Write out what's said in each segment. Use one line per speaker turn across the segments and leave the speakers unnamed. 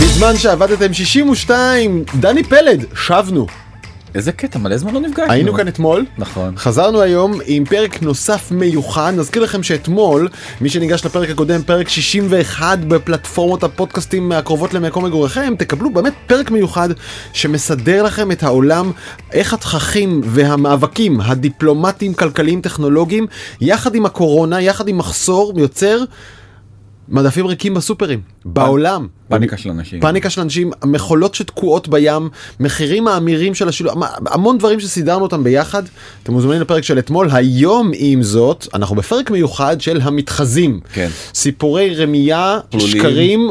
בזמן שעבדתם 62, דני פלד, שבנו.
איזה קטע, מלא זמן לא נפגשנו.
היינו כאן אתמול,
נכון.
חזרנו היום עם פרק נוסף מיוחד. נזכיר לכם שאתמול, מי שניגש לפרק הקודם, פרק 61 בפלטפורמות הפודקאסטים הקרובות למקום מגוריכם, תקבלו באמת פרק מיוחד שמסדר לכם את העולם, איך התככים והמאבקים הדיפלומטיים, כלכליים, טכנולוגיים, יחד עם הקורונה, יחד עם מחסור, יוצר מדפים ריקים בסופרים, בעולם.
פאניקה של אנשים.
פאניקה של אנשים, מכולות שתקועות בים, מחירים האמירים של השילוב, המון דברים שסידרנו אותם ביחד. אתם מוזמנים לפרק של אתמול. היום, עם זאת, אנחנו בפרק מיוחד של המתחזים.
כן.
סיפורי רמייה,
פלולים.
שקרים.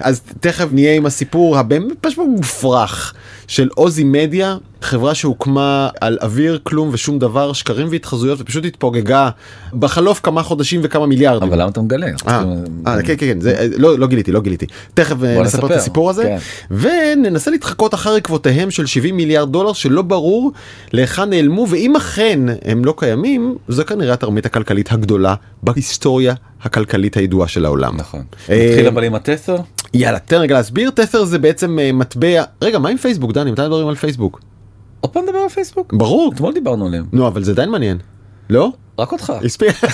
אז תכף נהיה עם הסיפור הבאמת פשוט מופרך של עוזי מדיה, חברה שהוקמה על אוויר, כלום ושום דבר, שקרים והתחזויות, ופשוט התפוגגה בחלוף כמה חודשים וכמה מיליארדים.
אבל למה אתה מגלה?
אה, אה, כן, כן, כן, זה, אה, לא, לא גיליתי, לא גיליתי. תכף אה,
בוא
נספר את
נספר,
הסיפור הזה,
כן.
וננסה להתחקות אחר עקבותיהם של 70 מיליארד דולר שלא ברור להיכן נעלמו, ואם אכן הם לא קיימים, זו כנראה התרמית הכלכלית הגדולה בהיסטוריה הכלכלית הידועה של העולם.
נכון.
אה,
נתחיל אבל עם התסר?
יאללה, תן רגע להסביר, תפר זה בעצם אה, מטבע, רגע, מה עם פייסבוק, דני, מתי מדברים על פייסבוק?
עוד פעם נדבר על פייסבוק?
ברור.
אתמול דיברנו עליהם.
נו, אבל זה עדיין מעניין. לא?
רק אותך.
הספיק.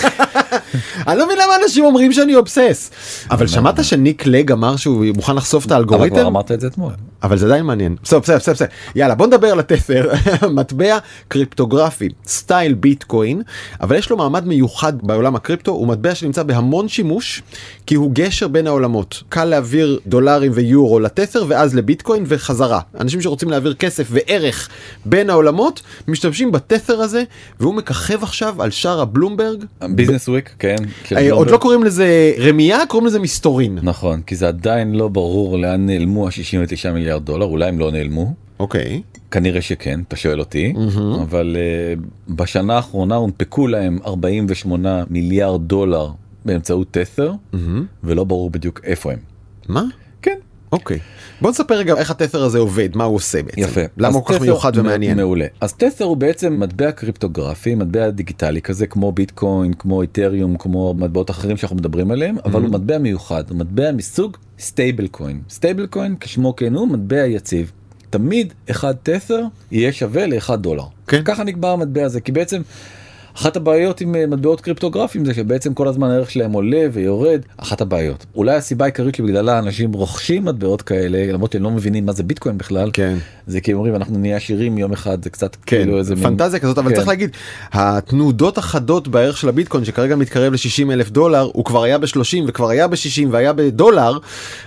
אני לא מבין למה אנשים אומרים שאני אובסס. אבל שמעת שניק לג אמר שהוא מוכן לחשוף את
אבל כבר
האלגוריתם?
אמרת את זה אתמול.
אבל זה עדיין מעניין. בסדר, בסדר, בסדר, בסדר. יאללה, בוא נדבר על התפר. מטבע קריפטוגרפי, סטייל ביטקוין, אבל יש לו מעמד מיוחד בעולם הקריפטו, הוא מטבע שנמצא בהמון שימוש, כי הוא גשר בין העולמות. קל להעביר דולרים ויורו לתפר ואז לביטקוין וחזרה. אנשים שרוצים להעביר כסף וערך בין העולמות, משתמשים בתפר הזה, והוא מככב עכשיו על שער הבלומברג.
ביזנס וויק, כן. של
אה, עוד
בלומברג.
לא קוראים לזה רמייה, קוראים לזה מסתורין.
נכון, כי זה עדיין לא ברור לאן נעלמו ה-69 מיליארד דולר, אולי הם לא נעלמו.
אוקיי.
כנראה שכן, אתה שואל אותי, אבל אה, בשנה האחרונה הונפקו להם 48 מיליארד דולר באמצעות תסר, ולא ברור בדיוק איפה הם.
מה?
כן,
אוקיי. בוא נספר רגע איך התפר הזה עובד, מה הוא עושה בעצם.
יפה.
למה
אז
הוא כל כך
תת'ר-
מיוחד ומעניין.
מעולה. אז תת'ר הוא בעצם מטבע קריפטוגרפי, מטבע דיגיטלי כזה, כמו ביטקוין, כמו איתריום, כמו מטבעות אחרים שאנחנו מדברים עליהם, אבל
Mm-hmm.
הוא מטבע מיוחד, הוא מטבע מסוג סטייבל קוין. סטייבל קוין, כשמו כן הוא, מטבע יציב. תמיד אחד תת'ר יהיה שווה לאחד דולר.
כן.
ככה נקבע המטבע הזה, כי בעצם... אחת הבעיות עם אה, מטבעות קריפטוגרפיים זה שבעצם כל הזמן הערך שלהם עולה ויורד, אחת הבעיות. אולי הסיבה העיקרית שבגללה אנשים רוכשים מטבעות כאלה, למרות שהם לא מבינים מה זה ביטקוין בכלל,
כן.
זה כאילו אומרים אנחנו נהיה עשירים יום אחד זה קצת
כן,
כאילו איזה מין-
פנטזיה כזאת, אבל
כן.
צריך להגיד, התנודות החדות בערך של הביטקוין, שכרגע מתקרב ל-60 אלף דולר, הוא כבר היה ב-30 וכבר היה ב-60 והיה בדולר,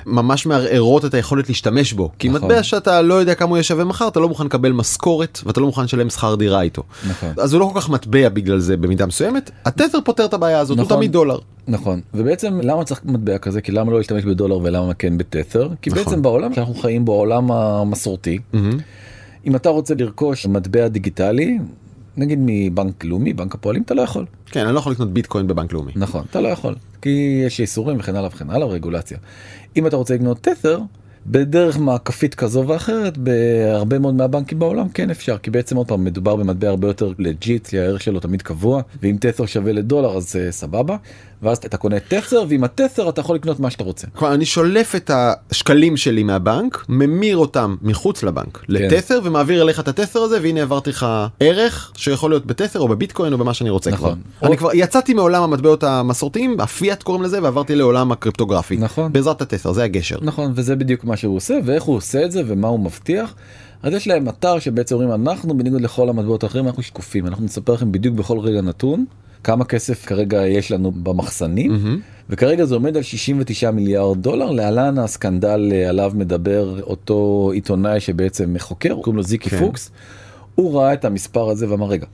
ממש מערערות את היכולת להשתמש בו. כי
נכון.
מטבע שאתה לא יודע כמה הוא יהיה שווה מחר, אתה לא מוכן לקבל משכורת ואתה לא מוכן לשלם שכר דירה איתו.
נכון.
אז הוא לא כל כך מטבע בגלל זה במידה מסוימת, התתר פותר את הבעיה הזאת, הוא
נכון.
תמיד דולר.
נכון ובעצם למה צריך מטבע כזה כי למה לא להשתמש בדולר ולמה כן בתת'ר כי
נכון.
בעצם בעולם שאנחנו חיים בו העולם המסורתי אם אתה רוצה לרכוש מטבע דיגיטלי נגיד מבנק לאומי בנק הפועלים אתה לא יכול
כן, אני לא יכול לקנות ביטקוין בבנק לאומי.
נכון אתה לא יכול כי יש איסורים וכן הלאה וכן הלאה רגולציה אם אתה רוצה לקנות תת'ר. בדרך מעקפית כזו ואחרת בהרבה מאוד מהבנקים בעולם כן אפשר כי בעצם עוד פעם מדובר במטבע הרבה יותר לג'יט כי הערך שלו תמיד קבוע ואם תת'ר שווה לדולר אז אה, סבבה ואז אתה קונה תת'ר ועם התת'ר אתה יכול לקנות מה שאתה רוצה.
כלומר, אני שולף את השקלים שלי מהבנק, ממיר אותם מחוץ
כן.
לבנק לתתר, ומעביר אליך את התתר הזה, והנה העברתי לך ערך שיכול להיות בתתר או בביטקוין או במה שאני רוצה כבר.
נכון.
אני
עוד-
כבר יצאתי מעולם המטבעות המסורתיים, הפיאט קוראים לזה, ועברתי לעולם הקריפטוגרפי.
נכון.
בעזרת התתר, זה הגשר.
נכון וזה בדיוק מה שהוא עושה ואיך הוא עושה את זה ומה הוא מבטיח. אז יש להם אתר שבעצם אומרים אנחנו בניגוד לכל המטבעות האחרים אנחנו שקופים אנחנו נספר לכם בדיוק בכל רגע נתון כמה כסף כרגע יש לנו במחסנים וכרגע זה עומד על 69 מיליארד דולר להלן הסקנדל אה, עליו מדבר אותו עיתונאי שבעצם חוקר קוראים לו זיקי
כן.
פוקס. הוא ראה את המספר הזה ואמר רגע.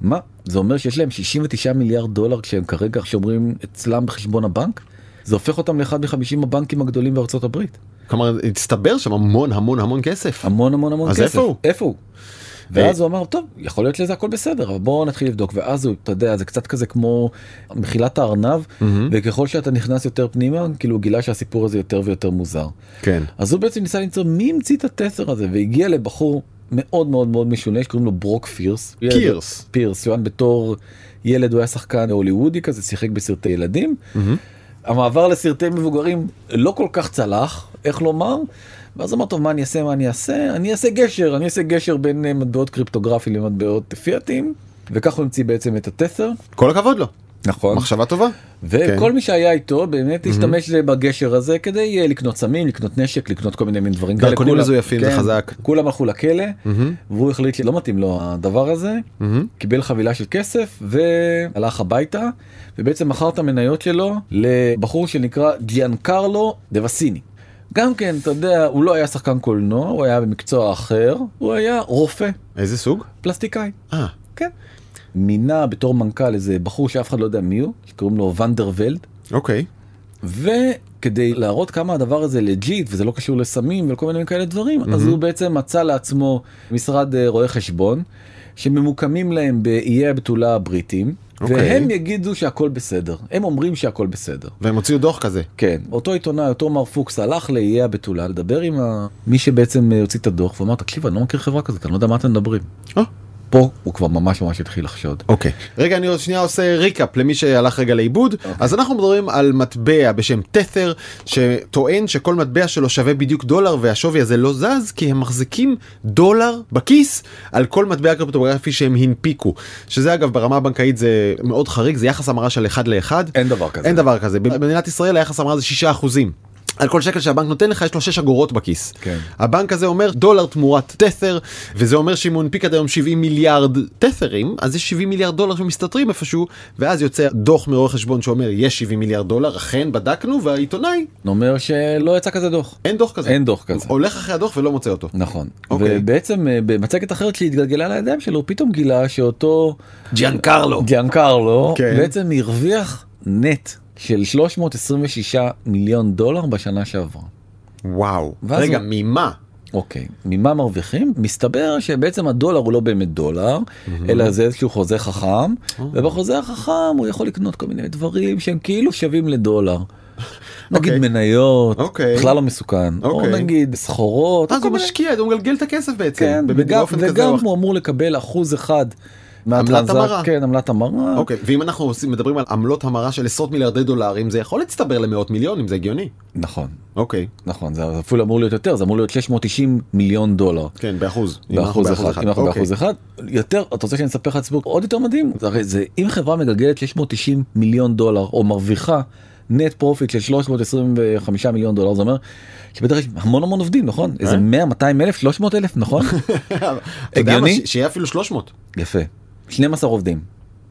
מה זה אומר שיש להם 69 מיליארד דולר כשהם כרגע שומרים אצלם בחשבון הבנק? זה הופך אותם לאחד מחמישים הבנקים הגדולים בארצות הברית.
כלומר, הצטבר שם המון המון המון כסף.
המון המון המון
אז
כסף.
איפה הוא?
איפה הוא? ואז הוא אמר טוב יכול להיות לזה הכל בסדר אבל בואו נתחיל לבדוק ואז הוא אתה יודע זה קצת כזה כמו מחילת הארנב וככל שאתה נכנס יותר פנימה כאילו הוא גילה שהסיפור הזה יותר ויותר מוזר.
כן.
אז הוא בעצם ניסה למצוא מי המציא את התסר הזה והגיע לבחור מאוד מאוד מאוד משונה שקוראים לו ברוק פירס.
פירס.
פירס, יואן בתור ילד הוא היה שחקן הוליוודי כזה שיחק בסרטי ילדים. המעבר לסרטי מבוגרים לא כל כך צלח, איך לומר, ואז אמר, טוב, מה אני אעשה, מה אני אעשה? אני אעשה גשר, אני אעשה גשר בין אה, מטבעות קריפטוגרפי למטבעות פיאטים, וכך הוא המציא בעצם את התת'ר.
כל הכבוד לו.
נכון.
מחשבה טובה. כן.
וכל מי שהיה איתו
Mhm.
באמת השתמש בגשר הזה כדי אה, לקנות סמים, לקנות נשק, לקנות כל מיני מין דברים כאלה.
דרכונים
כולם-
מזויפים, זה
כן,
חזק. Mhm.
כולם הלכו לכלא, והוא החליט שלא מתאים לו הדבר הזה,
מהמם.
קיבל חבילה של כסף והלך הביתה, ובעצם מכר את המניות שלו לבחור שנקרא גיאנקרלו דבסיני. גם כן, אתה יודע, הוא לא היה שחקן קולנוע, הוא היה במקצוע אחר, הוא היה רופא,
איזה סוג?
פלסטיקאי.
אה,
כן. מינה בתור מנכ"ל איזה בחור שאף אחד לא יודע מי הוא, שקוראים לו ונדרוולד,
אוקיי.
וכדי להראות כמה הדבר הזה לג'יט וזה לא קשור לסמים ולכל מיני כאלה דברים, mm-hmm. אז הוא בעצם מצא לעצמו משרד אה, רואי חשבון, שממוקמים להם באיי הבתולה הבריטים, okay.
אוקיי.
והם יגידו שהכל בסדר, הם אומרים שהכל בסדר.
והם הוציאו דוח כזה.
כן, אותו עיתונאי, אותו מר פוקס, הלך לאיי הבתולה לדבר עם ה... מי שבעצם אה, הוציא את הדוח, ואמר, תקשיב, אני לא מכיר חברה כזאת, אני לא יודע מה אתם מדברים.
אה,
פה הוא כבר ממש ממש התחיל לחשוד.
אוקיי. רגע, אני עוד שנייה עושה ריקאפ למי שהלך רגע לאיבוד.
אוקיי.
אז אנחנו מדברים על מטבע בשם תת'ר, שטוען שכל מטבע שלו שווה בדיוק דולר, והשווי הזה לא זז, כי הם מחזיקים דולר בכיס על כל מטבע קריפטוגרפי שהם הנפיקו. שזה אגב, ברמה הבנקאית זה מאוד חריג, זה יחס המרה של 1 ל-1.
אין דבר כזה.
אין דבר כזה. במדינת ישראל היחס המרה זה 6 אחוזים. על כל שקל שהבנק נותן לך יש לו 6 אגורות בכיס.
כן.
הבנק הזה אומר דולר תמורת תת'ר, וזה אומר שאם הוא הנפיק עד היום 70 מיליארד תת'רים, אז יש 70 מיליארד דולר שמסתתרים איפשהו, ואז יוצא דוח מרואה חשבון שאומר יש 70 מיליארד דולר, אכן בדקנו, והעיתונאי,
אומר שלא יצא כזה דוח.
אין דוח כזה.
אין דוח כזה.
הולך אחרי הדוח ולא מוצא אותו.
נכון.
אוקיי.
ובעצם אה, במצגת אחרת שהתגלגלה לידיים שלו, הוא פתאום גילה שאותו
ג'יאן קרלו.
גיאנקרלו
כן.
בעצם הרוויח נט של 326 מיליון דולר בשנה שעברה.
וואו.
ואז
רגע,
הוא-
ממה?
אוקיי, ממה מרוויחים? מסתבר שבעצם הדולר הוא לא באמת דולר, אלא זה איזשהו חוזה חכם,
אה.
ובחוזה החכם הוא יכול לקנות כל מיני דברים שהם כאילו שווים לדולר. נגיד
אוקיי.
מניות,
אוקיי.
בכלל לא מסוכן, או
אוקיי.
נגיד סחורות, או
אז
כל
הוא
מיני-
משקיע, הוא מגלגל את הכסף
כן,
בעצם.
וגם,
באופן כזה
וגם
או אחר.
הוא אמור לקבל אחוז אחד.
עמלת
מהטרנזק-
המרה.
כן, עמלת המרה.
אוקיי, ואם אנחנו עושים, מדברים על עמלות המרה של עשרות מיליארדי דולרים, זה יכול להצטבר למאות מיליונים, זה הגיוני.
נכון,
אוקיי,
נכון, זה אפילו אמור להיות יותר, זה אמור להיות 690 מיליון דולר.
כן, באחוז. אם אנחנו
באחוז אחד, אם אנחנו
אוקיי.
באחוז אחד, יותר, אתה רוצה שאני אספר לך סיפור עוד יותר מדהים? זה הרי זה, אם חברה מגלגלת 690 מיליון דולר, או מרוויחה נט פרופיט של 325 מיליון דולר, זה אומר שבטח יש המון המון עובדים, נכון? איזה 100, 200 אלף, 300 אלף, נכון?
אתה יודע מה,
הגיוני?
ש- שיהיה אפילו 300.
יפה. 12 עובדים,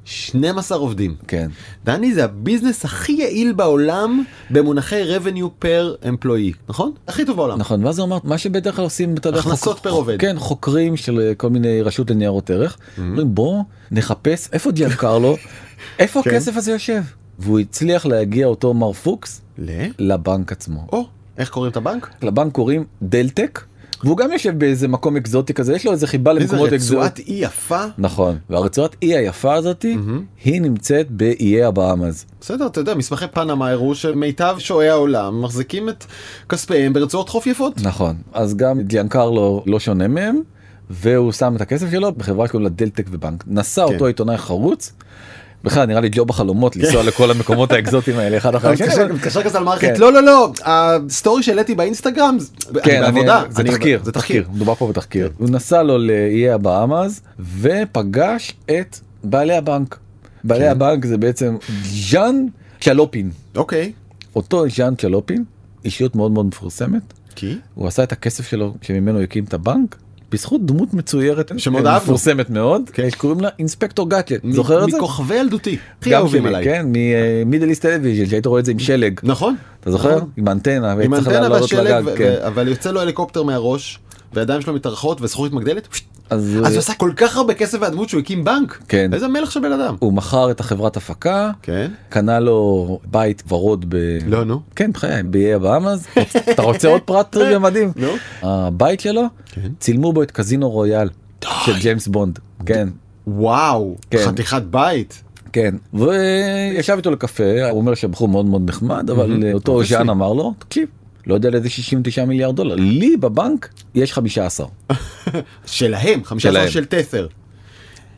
12 עובדים.
כן.
דני, זה הביזנס הכי יעיל בעולם במונחי revenue per employee, נכון? הכי טוב בעולם.
נכון, ואז הוא אמר, מה שבדרך כלל עושים, אתה יודע,
הכנסות
חוק-
פר עובד. Mm-hmm.
כן, חוקרים של אה, כל מיני רשות לניירות ערך, אומרים בוא נחפש איפה ג'יאן קרלו, איפה
כן.
הכסף הזה יושב. והוא הצליח להגיע אותו מר פוקס
ל...
לבנק עצמו.
או, איך קוראים את הבנק?
לבנק קוראים דלטק, והוא גם יושב באיזה מקום אקזוטי כזה, יש לו איזה חיבה
איזה רצועת
למקומות אקזוטי.
אי יפה.
נכון, והרצועת אי היפה הזאתי,
Mm-hmm.
היא נמצאת באיי הבאמאז.
בסדר, אתה יודע, מסמכי פנמה הראו שמיטב שועי העולם מחזיקים את כספיהם ברצועות חוף יפות.
נכון, אז גם גיאנקרלו לא שונה מהם, והוא שם את הכסף שלו בחברה שקוראים לה דלטק ובנק. נסע
כן.
אותו עיתונאי חרוץ, בכלל נראה לי ג'ו בחלומות לנסוע לכל המקומות האקזוטיים האלה אחד אחרי
אתה
השני.
מתקשר-
אבל-
מתקשר כזה למערכת
כן.
כן, לא לא לא הסטורי שהעליתי באינסטגרם זה-
כן,
אני
אני-
בעבודה
זה
אני-
תחקיר,
זה תחקיר כן.
מדובר פה בתחקיר. הוא נסע לו לאיי הבאמאז ופגש את בעלי הבנק.
כן.
בעלי הבנק זה בעצם ז'אן צ'לופין.
אוקיי
אותו ז'אן צ'לופין, אישיות מאוד מאוד מפורסמת,
כי
הוא עשה את הכסף שלו שממנו הקים את הבנק. בזכות דמות מצוירת
שמאוד אהבנו.
מפורסמת מאוד
כן.
קוראים לה אינספקטור גאטלט זוכר את זה?
מכוכבי ילדותי הכי
גם
אהובים
שלי,
עליי
כן ממידל איסט טלוויז'ן שהיית רואה את זה עם שלג
נכון
אתה זוכר
נכון.
עם האנטנה
עם
וצריך
האנטנה
לעלות
והשלג
לגג
ו-
כן.
ו- אבל יוצא לו הליקופטר מהראש והידיים שלו מתארחות וזכוכית מגדלת פשט.
אז
אז
אה,
הוא עשה כל כך הרבה כסף והדמות שהוא הקים בנק
כן.
איזה מלך של בן אדם
הוא מכר את החברת הפקה
כן
קנה לו בית ורוד ב...
לא נו
כן בחיי באיי הבאמאז אתה רוצה עוד פרט טריוויה מדהים
נו.
הבית שלו
כן.
צילמו בו את קזינו רויאל של ג'יימס בונד כן.
וואו
כן.
חתיכת בית
כן, וישב איתו לקפה, הוא אומר שהבחור מאוד מאוד נחמד, אבל אה, אותו ז'אן אמר לו, תקשיב, לא יודע לאיזה 69 מיליארד דולר, לי בבנק יש 15.
שלהם 15
שלהם.
של תת'ר.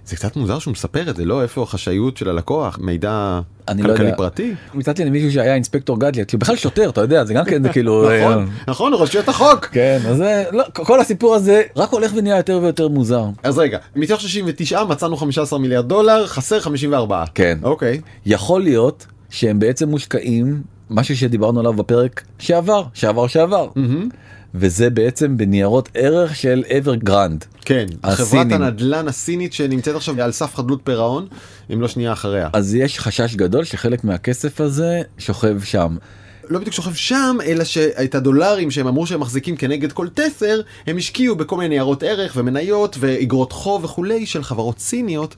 זה קצת מוזר שהוא מספר את זה, לא? איפה החשאיות של הלקוח? מידע
אני לא
כלכלי
יודע.
פרטי?
מצאתי לי מישהו שהיה אינספקטור גדלט, שהוא בכלל שוטר, אתה יודע, זה גם כן זה כאילו...
נכון, נכון, רשויות החוק.
כן, אז זה, לא, כל הסיפור הזה רק הולך ונהיה יותר ויותר מוזר.
אז רגע, מתוך 69 מצאנו 15 מיליארד דולר, חסר 54.
כן.
אוקיי.
יכול להיות שהם בעצם מושקעים, משהו שדיברנו עליו בפרק שעבר, שעבר שעבר,
מהמם.
וזה בעצם בניירות ערך של אברגרנד.
כן, חברת
הסינים.
הנדלן הסינית שנמצאת עכשיו על סף חדלות פירעון, אם לא שנייה אחריה.
אז יש חשש גדול שחלק מהכסף הזה שוכב שם.
לא בדיוק שוכב שם, אלא שאת הדולרים שהם אמרו שהם מחזיקים כנגד כל תסר, הם השקיעו בכל מיני ניירות ערך ומניות ואיגרות חוב וכולי של חברות סיניות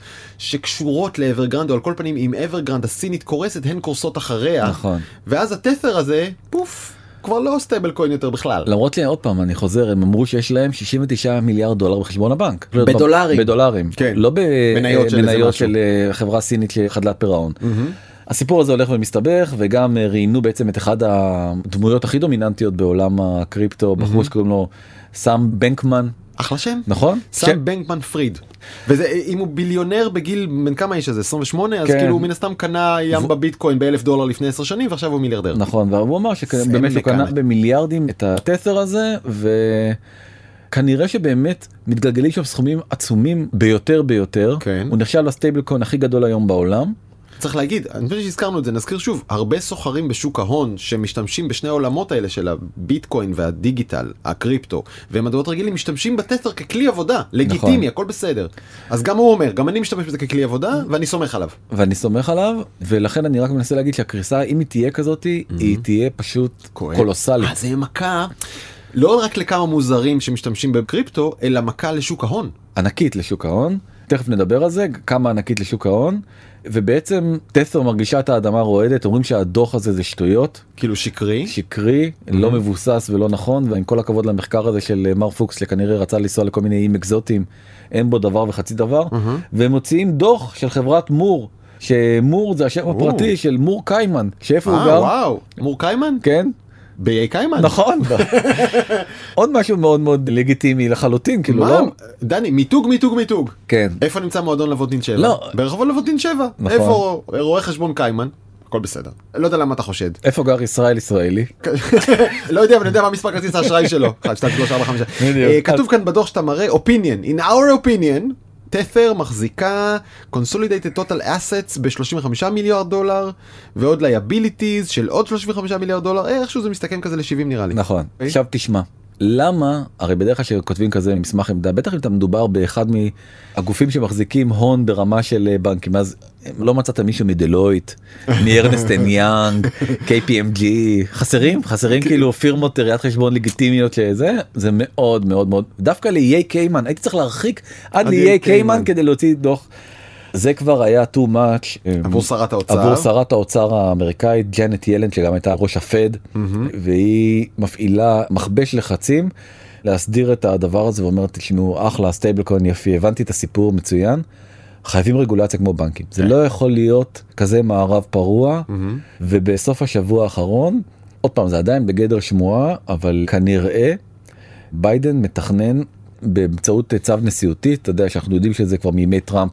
שקשורות לאברגרנד, או על כל פנים אם אברגרנד הסינית קורסת, הן קורסות אחריה.
נכון.
ואז התתר הזה, פוף, כבר לא סטייבל קוין יותר בכלל.
למרות שעוד פעם אני חוזר הם אמרו שיש להם 69 מיליארד דולר בחשבון הבנק
בדולרים.
בדולרים
כן.
לא במניות
מניות של
של,
איזה
מניות
משהו.
של אה, חברה סינית שחדלת פירעון. הסיפור הזה הולך ומסתבך וגם אה, ראיינו בעצם את אחת הדמויות הכי דומיננטיות בעולם הקריפטו בחור שקוראים לו סאם בנקמן
אחלה שם.
נכון?
סם בנקמן פריד. וזה אם הוא ביליונר בגיל בן כמה האיש הזה 28 אז
כן.
כאילו הוא מן הסתם קנה ים
ו-
בביטקוין באלף דולר לפני 10 שנים ועכשיו הוא מיליארדר.
נכון והוא אמר
סם
שבאמת הוא קנה
בנקמן.
במיליארדים את התת'ר הזה וכנראה שבאמת מתגלגלים שם סכומים עצומים ביותר ביותר
כן.
הוא נחשב לסטייבל קוין הכי גדול היום בעולם.
צריך להגיד, אני חושב שהזכרנו את זה, נזכיר שוב, הרבה סוחרים בשוק ההון שמשתמשים בשני העולמות האלה של הביטקוין והדיגיטל, הקריפטו, ומדעות רגילים, משתמשים בתתר ככלי עבודה, לגיטימי,
נכון.
הכל בסדר. אז גם הוא אומר, גם אני משתמש בזה ככלי עבודה, ואני סומך עליו.
ואני סומך עליו ולכן אני רק מנסה להגיד שהקריסה אם היא תהיה כזאת היא תהיה פשוט
כואב.
קולוסלית.
אה, זה מכה, לא רק לכמה מוזרים שמשתמשים בקריפטו, אלא מכה לשוק ההון.
ענקית לשוק ההון תכף נדבר על זה כמה ענקית לשוק ההון ובעצם תסר מרגישה את האדמה רועדת אומרים שהדוח הזה זה שטויות
כאילו שקרי.
שקרי לא מבוסס ולא נכון ועם כל הכבוד למחקר הזה של אה, מר פוקס שכנראה רצה לנסוע לכל מיני איים אקזוטיים אין בו דבר וחצי דבר והם מוציאים דוח של חברת מור שמור זה השם הפרטי של מור קיימן שאיפה הוא
אה,
גר
וואו, מור קיימן?
כן
באיי קיימן?
נכון עוד משהו מאוד מאוד לגיטימי לחלוטין כאילו
מה?
לא
דני, מיתוג, מיתוג, מיתוג.
כן
איפה נמצא מועדון לבוטין 7?
לא.
ברחוב לבוטין 7.
נכון.
איפה רואה חשבון קיימן? הכל בסדר. לא יודע למה אתה חושד.
איפה גר ישראל ישראלי
לא יודע, אבל אני יודע מה מספר כרטיס האשראי שלו. 1, 2, 3, 4, 5.
בדיוק.
אה, כתוב כאן בדוח שאתה מראה, opinion, in our opinion, תפר מחזיקה consolidated total assets ב-35 מיליארד דולר, ועוד liabilities של עוד 35 מיליארד דולר, אה, איכשהו זה מסתכם כזה ל-70 נראה לי.
נכון
אוקיי.
עכשיו תשמע למה הרי בדרך כלל כשכותבים כזה מסמך עמדה בטח אם אתה מדובר באחד מהגופים שמחזיקים הון ברמה של אה, בנקים אז אה, לא מצאת מישהו מדלויט מארנסטן יאנג kpmg חסרים חסרים
אוקיי.
כאילו פירמות ראיית חשבון לגיטימיות שזה זה מאוד מאוד מאוד דווקא לאיי קיימן הייתי צריך להרחיק עד
עד E
לאיי
EA
קיימן
קיימן.
כדי להוציא דוח. זה כבר היה too much אה,
עבור שרת האוצר.
עבור שרת האוצר האמריקאית ג'נט ילן שגם הייתה ראש הפד והיא מפעילה מכבש לחצים להסדיר את הדבר הזה ואומרת תשמעו אחלה סטייבל קוין יפי הבנתי את הסיפור מצוין. חייבים רגולציה כמו בנקים זה
כן.
לא יכול להיות כזה מערב פרוע ובסוף השבוע האחרון עוד פעם זה עדיין בגדר שמועה אבל כנראה ביידן מתכנן באמצעות צו נשיאותי אתה יודע שאנחנו יודעים שזה כבר מימי טראמפ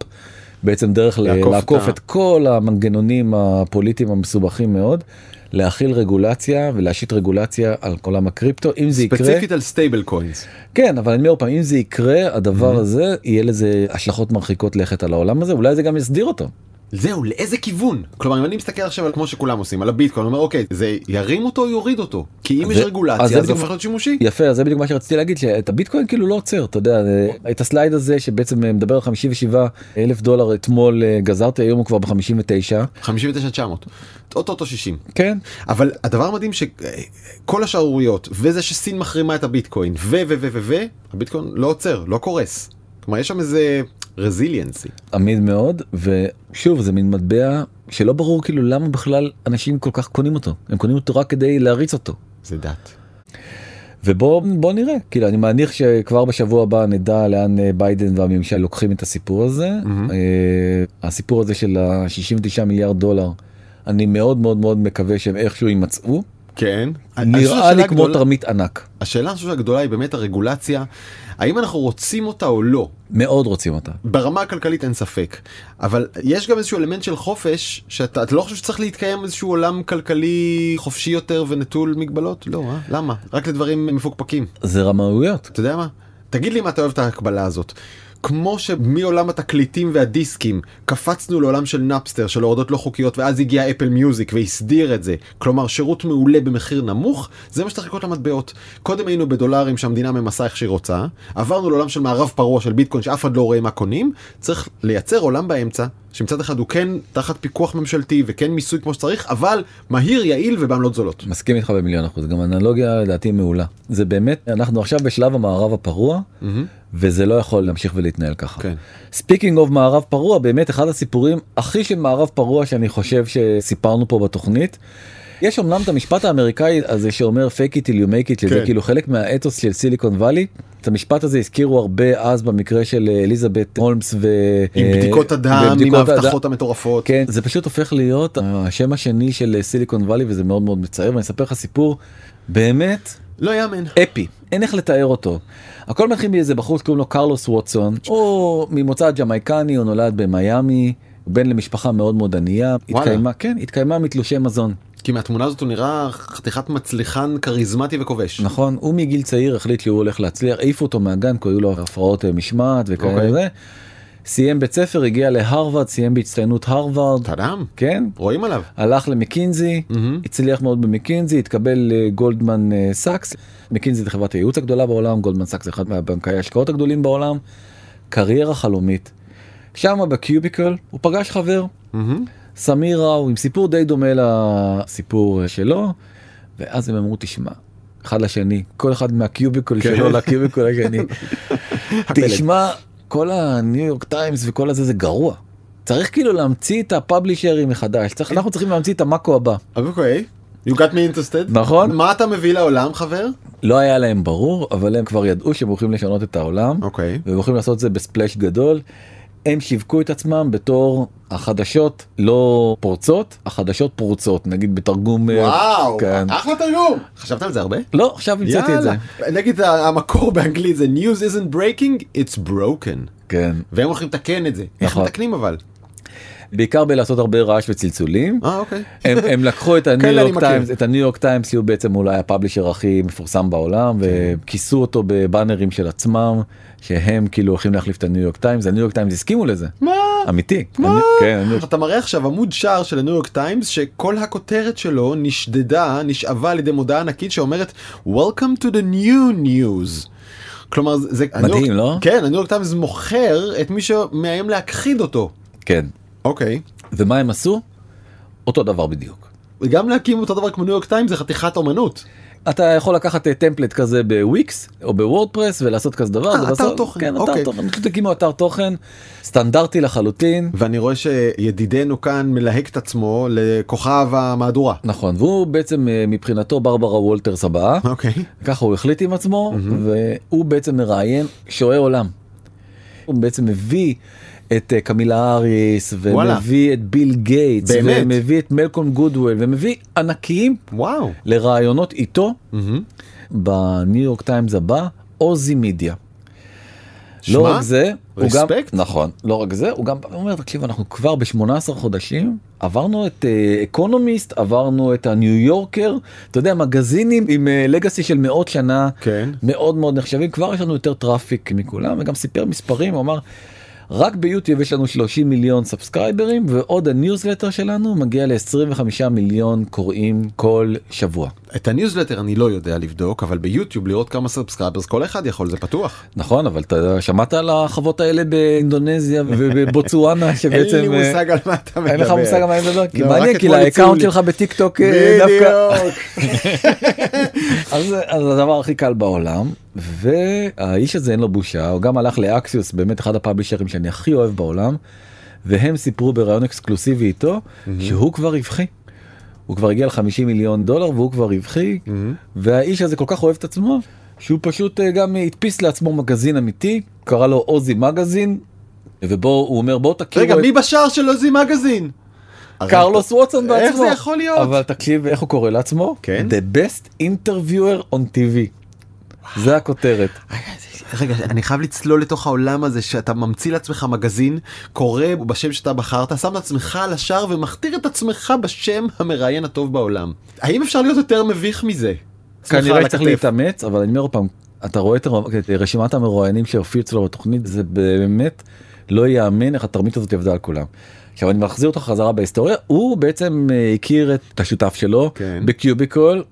בעצם דרך לעקוף,
לעקוף
לעקוף
את ה-
את כל המנגנונים הפוליטיים המסובכים מאוד להכיל רגולציה ולהשית רגולציה על עולם הקריפטו אם זה יקרה
ספציפית על סטייבל קוינס.
כן אבל אני אומר עוד פעם אם זה יקרה
Mm-hmm.
הדבר הזה יהיה לזה השלכות מרחיקות לכת על העולם הזה אולי זה גם יסדיר אותו.
זהו, לאיזה כיוון? כלומר, אם אני מסתכל עכשיו על כמו שכולם עושים, על הביטקוין, אני אומר, אוקיי, זה ירים אותו או יוריד אותו? כי אם יש
זה- אז זה
רגולציה, זה
בדיוק-
הופך להיות שימושי.
יפה אז זה בדיוק מה שרציתי להגיד שאת הביטקוין כאילו לא עוצר אתה יודע אה, את הסלייד הזה שבעצם אה, מדבר על 57 אלף דולר אתמול אה, גזרתי היום הוא כבר ב-59
59,900. אוטוטו 60.
כן
אבל הדבר המדהים שכל השערוריות, וזה שסין מחרימה את הביטקוין, ו ו ו ו ו, הביטקוין לא עוצר, לא קורס. כלומר, יש שם איזה רזיליאנסי.
עמיד מאוד ושוב זה מין מטבע שלא ברור כאילו למה בכלל אנשים כל כך קונים אותו הם קונים אותו רק כדי להריץ אותו
זה דת.
ובוא בוא נראה כאילו אני מניח שכבר בשבוע הבא נדע לאן אה, ביידן והממשל לוקחים את הסיפור הזה
מהמם.
אה, הסיפור הזה של ה-69 מיליארד דולר אני מאוד מאוד מאוד מקווה שהם איכשהו יימצאו
כן. אני חושב
נראה לי
שהשאלה
כמו
הגדולה-
תרמית ענק.
השאלה אני חושב הגדולה היא באמת הרגולציה, האם אנחנו רוצים אותה או לא.
מאוד רוצים אותה.
ברמה הכלכלית אין ספק, אבל יש גם איזשהו אלמנט של חופש, שאתה אתה לא חושב שצריך להתקיים איזשהו עולם כלכלי חופשי יותר ונטול מגבלות? לא, אה? למה? רק לדברים מפוקפקים.
זה רמאויות.
אתה יודע מה? תגיד לי אם אתה אוהב את ההקבלה הזאת. כמו שמעולם התקליטים והדיסקים קפצנו לעולם של נאפסטר של הורדות לא חוקיות ואז הגיע אפל מיוזיק והסדיר את זה. כלומר שירות מעולה במחיר נמוך זה מה שצריך לקרות למטבעות. קודם היינו בדולרים שהמדינה ממסה איך שהיא רוצה עברנו לעולם של מערב פרוע של ביטקוין שאף אחד לא רואה מה קונים צריך לייצר עולם באמצע שמצד אחד הוא כן תחת פיקוח ממשלתי וכן מיסוי כמו שצריך אבל מהיר יעיל ובעמלות זולות.
מסכים איתך במיליון אחוז. גם האנלוגיה לדעתי מעולה. זה באמת, אנחנו עכשיו בשלב המערב הפרוע, וזה לא יכול להמשיך ולהתנהל ככה.
כן.
ספיקינג אוף מערב פרוע, באמת אחד הסיפורים הכי של מערב פרוע שאני חושב שסיפרנו פה בתוכנית. יש אמנם את המשפט האמריקאי הזה שאומר fake it till you make it, שזה
כן.
כאילו חלק מהאתוס של סיליקון וואלי. את המשפט הזה הזכירו הרבה אז במקרה של אה, אליזבת הולמס ו...
עם
אה,
בדיקות הדם, עם
ובדיקות הדם.
ההבטחות המטורפות.
כן, זה פשוט הופך להיות אה, השם השני של סיליקון וואלי וזה מאוד מאוד מצער ואני אספר לך סיפור באמת
לא יאמן.
אפי אין איך לתאר אותו. הכל מתחיל מאיזה בחור שקוראים לו קרלוס ווטסון או ממוצא ג'מייקני הוא נולד במיאמי. הוא בן למשפחה מאוד מאוד ענייה,
וואלה.
התקיימה, כן, התקיימה מתלושי מזון,
כי מהתמונה הזאת הוא נראה חתיכת מצליחן כריזמטי וכובש.
נכון? הוא מגיל צעיר החליט שהוא הולך להצליח, העיפו אותו מהגן, כי היו לו הפרעות אה, משמעת וכאלה
אוקיי.
וזה. סיים בית ספר, הגיע להרווארד, סיים בהצטיינות הרווארד,
טאדם,
כן,
רואים עליו.
הלך למקינזי,
מהמם.
הצליח מאוד במקינזי, התקבל לגולדמן סאקס. מקינזי זה חברת הייעוץ הגדולה בעולם, גולדמן סאקס זה אחד מהבנקאי ההשקעות הגדולים בעולם. קריירה חלומית. שם בקיוביקל הוא פגש חבר,
מהמם.
סמיר ראו, עם סיפור די דומה לסיפור שלו, ואז הם אמרו, תשמע, אחד לשני, כל אחד מהקיוביקל
כן.
שלו לקיוביקל השני, תשמע, כל הניו יורק טיימס וכל הזה זה גרוע. צריך כאילו להמציא את הפאבלישרים מחדש, צריך, אנחנו צריכים להמציא את המאקו הבא.
אוקיי. You got me interested.
נכון.
מה אתה מביא לעולם חבר?
לא היה להם ברור, אבל הם כבר ידעו שהם הולכים לשנות את העולם,
אוקיי.
והם הולכים לעשות את זה בספלאש גדול. הם שיווקו את עצמם בתור החדשות לא פורצות, החדשות פורצות, נגיד בתרגום... אה,
וואו,
כן.
אחלה תרגום. חשבת על זה הרבה?
לא, עכשיו המצאתי את זה.
נגיד ה- המקור באנגלית זה news isn't breaking, it's broken.
כן.
והם הולכים לתקן את זה. איך
נכון.
מתקנים אבל?
בעיקר בלעשות הרבה רעש וצלצולים.
אה אוקיי.
הם, הם לקחו את הניו
כאלה אני
יורק
מכיר.
טיימס, את הניו יורק טיימס, שהוא בעצם אולי הפאבלישר הכי מפורסם בעולם,
כן.
וכיסו אותו בבאנרים של עצמם, שהם כאילו הולכים להחליף את הניו יורק טיימס, הניו יורק טיימס הסכימו לזה.
מה?
אמיתי.
מה?
אני- כן, הניו-
אתה מראה עכשיו עמוד שער של הניו יורק טיימס שכל הכותרת שלו נשדדה, נשאבה על ידי מודעה ענקית שאומרת Welcome to the new news. כלומר זה- זה הניו
מדהים,
יורק-
לא?
כן, הניו יורק טיימס מוכר את מי שמאיים להכחיד אותו.
כן.
אוקיי.
ומה הם עשו? אותו דבר בדיוק.
גם להקים אותו דבר כמו ניו יורק טיימס זה חתיכת אומנות.
אתה יכול לקחת אה, טמפלט כזה בוויקס או בוורדפרס ולעשות כזה דבר.
אה,
זה
אתר
בסוף-
תוכן,
כן, אתר
אוקיי.
תוכן. פשוט הקימו אתר תוכן סטנדרטי לחלוטין.
ואני רואה שידידנו כאן מלהק את עצמו לכוכב המהדורה.
נכון, והוא בעצם אה, מבחינתו ברברה וולטרס הבאה.
אוקיי.
ככה הוא החליט עם עצמו והוא בעצם מראיין שועי עולם. הוא בעצם מביא את אה, קמילה האריס
וואלה.
ומביא את ביל גייטס
באמת?
ומביא את מלקום גודוול ומביא ענקיים
וואו.
לראיונות איתו
מהמם.
בניו יורק טיימס הבא עוזי מידיה.
שמע,
לא רק זה, הוא גם,
רספקט.
נכון, לא רק זה, הוא גם אומר, תקשיב, אנחנו כבר ב-18 חודשים, עברנו את אקונומיסט, עברנו את הניו יורקר, אתה יודע, מגזינים עם לגאסי של מאות שנה,
כן.
מאוד מאוד נחשבים, כבר יש לנו יותר טראפיק מכולם, וגם סיפר מספרים, הוא אמר, רק ביוטיוב יש לנו 30 מיליון סאבסקרייברים, ועוד הניוזלטר שלנו מגיע ל-25 מיליון קוראים כל שבוע.
את הניוזלטר אני לא יודע לבדוק אבל ביוטיוב לראות כמה סאבסקרייברס כל אחד יכול זה פתוח.
נכון אבל אתה שמעת על החוות האלה באינדונזיה ובבוצואנה שבעצם
אין לי
אה,
מושג על מה אתה מדבר.
אין לך מושג על מה אני מדבר כי
לא, רק
מעניין כי
אתמול הציעו
לאקאונט
לי.
שלך בטיק טוק אה, דווקא
בדיוק.
אז זה- אז הדבר הכי קל בעולם והאיש הזה אין לו בושה הוא גם הלך לאקסיוס באמת אחד הפאבלישרים שאני הכי אוהב בעולם והם סיפרו בראיון אקסקלוסיבי איתו שהוא כבר רווחי. הוא כבר הגיע ל-50 מיליון דולר והוא כבר רווחי והאיש הזה כל כך אוהב את עצמו שהוא פשוט אה, גם הדפיס לעצמו מגזין אמיתי קרא לו עוזי מגזין ובו הוא אומר בואו תכירו
רגע
את...
מי בשער של עוזי מגזין?
קרלוס ווטסון בעצמו.
איך זה יכול להיות?
אבל תקשיב איך הוא קורא לעצמו?
כן.
The best interviewer on TV. זה הכותרת.
רגע, אני חייב לצלול לתוך העולם הזה שאתה ממציא לעצמך מגזין, קורא בשם שאתה בחרת, שם את עצמך על השער ומכתיר את עצמך בשם המראיין הטוב בעולם. האם אפשר להיות יותר מביך מזה? סליחה על
כנראה צריך
הכתף.
להתאמץ, אבל אני אומר עוד פעם, אתה רואה את הר- את רשימת המרואיינים שהופיעו אצלו בתוכנית, זה באמת לא ייאמן איך התרמית הזאת עבדה על כולם. עכשיו אני מחזיר אותך חזרה בהיסטוריה, הוא בעצם אה, הכיר את השותף שלו
כן.
בקיוביקול.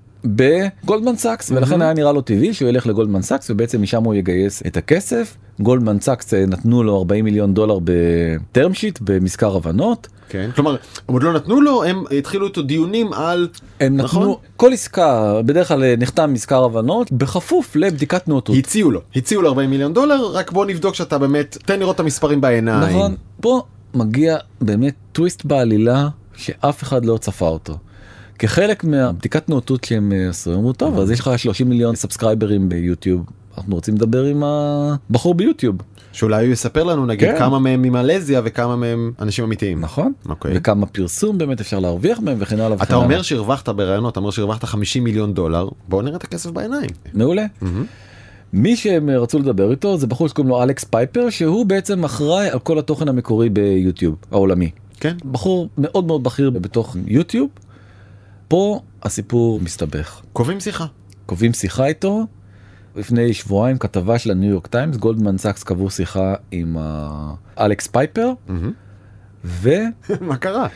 בגולדמן סאקס ולכן היה נראה לו טבעי שהוא ילך לגולדמן סאקס ובעצם משם הוא יגייס את הכסף. גולדמן סאקס אה, נתנו לו 40 מיליון דולר בטרם שיט במזכר הבנות.
כן. כלומר, הם עוד לא נתנו לו, הם התחילו איתו דיונים על...
הם נתנו
נכון?
נכון? כל עסקה בדרך כלל אה, נחתם מזכר הבנות בכפוף לבדיקת נאותות.
הציעו לו, הציעו לו 40 מיליון דולר, רק בוא נבדוק שאתה באמת, תן לראות את המספרים בעיניים.
נכון, פה מגיע באמת טוויסט בעלילה שאף אחד לא צפה אותו. כחלק מהבדיקת נאותות שהם אה, עשו, הם אמרו טוב אז יש לך 30 מיליון סאבסקרייברים ביוטיוב. אנחנו רוצים לדבר עם הבחור ביוטיוב
שאולי הוא יספר לנו נגיד
כן.
כמה מהם ממלזיה וכמה מהם אנשים אמיתיים.
נכון
אוקיי.
וכמה פרסום באמת אפשר להרוויח מהם וכן הלאה וכן
אתה
הלאה.
אומר שהרווחת ברעיונות, אתה אומר שהרווחת 50 מיליון דולר, בוא נראה את הכסף בעיניים.
מעולה. מי שהם רצו לדבר איתו זה בחור שקוראים לו אלכס פייפר שהוא בעצם אחראי על כל התוכן המקורי ביוטיוב העולמי.
כן.
בחור מאוד מאוד בכיר בתוך יוטיוב. פה הסיפור מסתבך.
קובעים שיחה.
קובעים שיחה איתו. לפני שבועיים כתבה של הניו יורק טיימס גולדמן סאקס קבעו שיחה עם ה- אלכס פייפר והוא
מה קרה?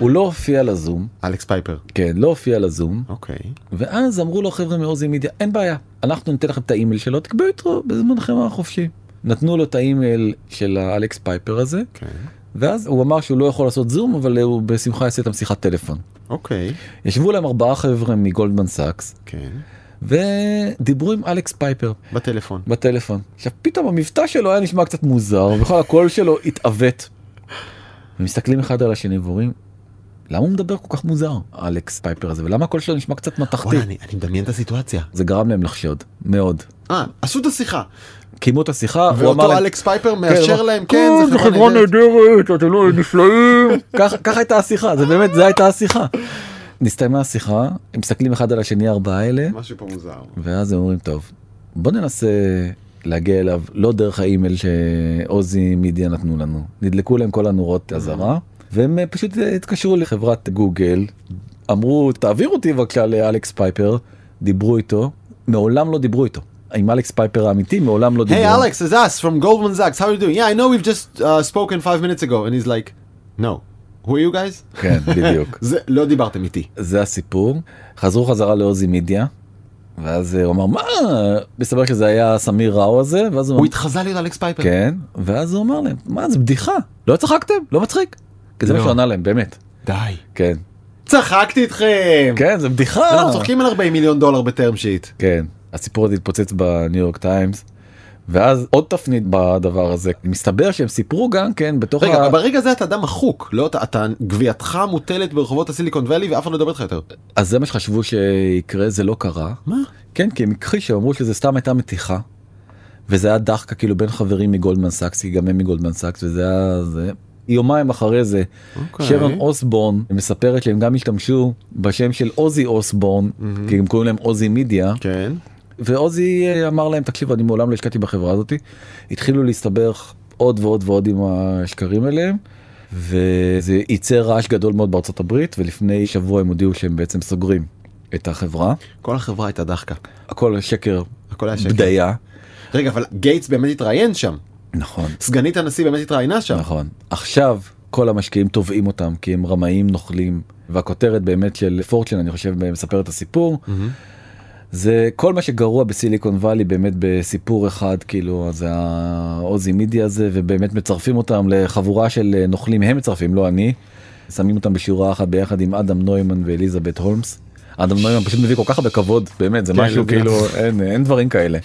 לא הופיע לזום
אלכס פייפר.
כן לא הופיע לזום
אוקיי.
ואז אמרו לו חבר'ה מעוזי מידיה אין בעיה אנחנו ניתן לכם את האימייל שלו תקבעו איתו בזמנכם החופשי. נתנו לו את האימייל של האלכס פייפר הזה
כן.
ואז הוא אמר שהוא לא יכול לעשות זום אבל הוא בשמחה יעשה איתם שיחת טלפון.
אוקיי.
ישבו להם ארבעה חבר'ה מגולדמן סאקס
כן.
ודיברו עם אלכס פייפר
בטלפון.
בטלפון. עכשיו פתאום המבטא שלו היה נשמע קצת מוזר ובכלל הקול שלו התעוות. ומסתכלים אחד על השני ואומרים למה הוא מדבר כל כך מוזר אלכס פייפר הזה ולמה הקול שלו נשמע קצת מתכתי.
וואלה, אני אני מדמיין את הסיטואציה.
זה גרם להם לחשוד מאוד.
אה, עשו את השיחה.
קיימו את השיחה הוא אמר
ואותו
להם
אלכס פייפר מאשר
אמר,
להם, כן, זה חברה נהדרת.
נהדרת אתם לא נפלאים ככה- ככה הייתה השיחה זה באמת זה הייתה השיחה. נסתיימה השיחה הם מסתכלים אחד על השני ארבעה אלה
משהו פה מוזר.
ואז הם אומרים טוב בוא ננסה להגיע אליו לא דרך האימייל שעוזי מידיה נתנו לנו נדלקו להם כל הנורות אזהרה והם אה, פשוט אה, התקשרו לחברת גוגל אמרו תעביר אותי בבקשה לאלכס פייפר דיברו איתו מעולם לא דיברו איתו עם אלכס פייפר האמיתי מעולם לא דיברו.
Hey Alex, it's us from Goldman Sachs. How are you doing? Yeah, I know we've just uh, spoken five minutes ago. And he's like, no. Who are you guys?
כן בדיוק
זה, לא דיברתם איתי.
זה הסיפור חזרו חזרה לעוזי מידיה. ואז אה, הוא אמר מה מסתבר שזה היה סמיר ראו הזה ואז
הוא התחזה להיות אלכס פייפר.
נכון. כן, ואז הוא אמר להם, מה זה בדיחה, לא צחקתם? לא מצחיק. כי זה מה
לא.
שהוא ענה להם, באמת.
די.
כן.
צחקתי איתכם.
כן, זה בדיחה.
אנחנו לא, צוחקים על 40 מיליון דולר בטרם שיט.
כן, הסיפור הזה התפוצץ בניו יורק טיימס. ואז עוד תפנית בדבר הזה, מסתבר שהם סיפרו גם כן בתוך
רגע,
ה...
אבל ברגע זה אתה אדם מחוק, לא אתה, אתה גבייתך מוטלת ברחובות הסיליקון ואלי ואף אחד לא ידבר איתך יותר.
אז זה מה שחשבו שיקרה, זה לא קרה.
מה?
כן, כי הם הכחישו, אמרו שזה סתם הייתה מתיחה. וזה היה דחקה כאילו בין חברים מגולדמן סאקס, כי גם הם מגולדמן סאקס, וזה היה זה. יומיים אחרי זה,
אוקיי.
שרון אוסבורן מספרת שהם גם השתמשו בשם של עוזי אוסבורן, כי הם קוראים להם עוזי מידיה,
כן.
ועוזי אה, אמר להם, תקשיבו, אני מעולם לא השקעתי בחברה הזאת. התחילו להסתבך עוד ועוד ועוד עם השקרים האליהם. וזה ייצר רעש גדול מאוד בארצות הברית ולפני שבוע הם הודיעו שהם בעצם סוגרים את החברה
כל החברה הייתה דחקה.
הכל שקר
הכל היה שקר.
בדיה.
רגע, אבל גייטס באמת התראיין שם.
נכון.
סגנית הנשיא באמת התראיינה שם.
נכון. עכשיו כל המשקיעים תובעים אותם כי הם רמאים נוכלים והכותרת באמת של פורצ'ן אני חושב מספר את הסיפור. זה כל מה שגרוע בסיליקון וואלי באמת בסיפור אחד כאילו זה העוזי מידי הזה ובאמת מצרפים אותם לחבורה של אה, נוכלים הם מצרפים לא אני. שמים אותם בשורה אחת ביחד עם אדם נוימן ואליזבת הולמס. אדם נוימן פשוט מביא כל כך הרבה כבוד באמת זה
כן,
משהו
כן.
כאילו אין, אין דברים כאלה.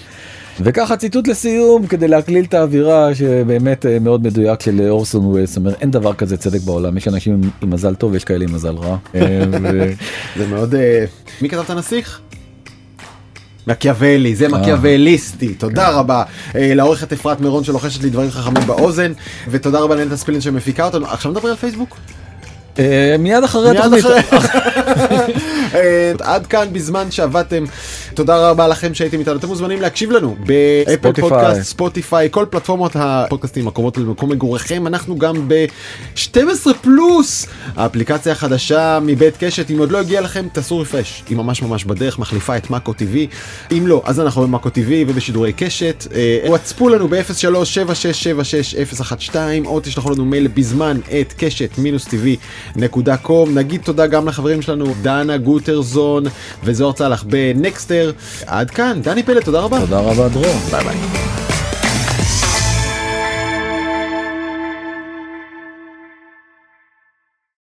וככה ציטוט לסיום כדי להקליל את האווירה שבאמת אה, מאוד מדויק של אורסון ווילס אומר אין דבר כזה צדק בעולם יש אנשים עם, עם מזל טוב ויש כאלה עם מזל רע. אה, ו-
זה מאוד... אה, מי כתב את הנסיך? מקיאוולי, זה
אה.
מקיאווליסטי,
כן.
תודה רבה אה, לעורכת אפרת מירון שלוחשת לי דברים חכמים באוזן, ותודה רבה לנטע ספילין שמפיקה אותנו. עכשיו נדבר על פייסבוק?
אה, מיד אחרי
מיד
התוכנית.
אה, עד כאן בזמן שעבדתם תודה רבה לכם שהייתם איתנו אתם מוזמנים להקשיב לנו באפל
ספוטיפיי.
פודקאסט ספוטיפיי כל פלטפורמות הפודקאסטים הקרובות למקום מגוריכם אנחנו גם ב-12 פלוס האפליקציה החדשה מבית קשת אם עוד לא הגיעה לכם תעשו רפרש היא ממש ממש בדרך מחליפה את מאקו TV אם לא אז אנחנו במאקו TV ובשידורי קשת אה, וואטספו לנו ב-03-76766012 או תשלחו לנו מייל בזמן את קשת מינוס tv.com נגיד תודה גם לחברים שלנו דנה גוטרזון וזוהר צלח בנקסטר עד כאן דני פלד תודה רבה
תודה רבה דרור.
ביי ביי.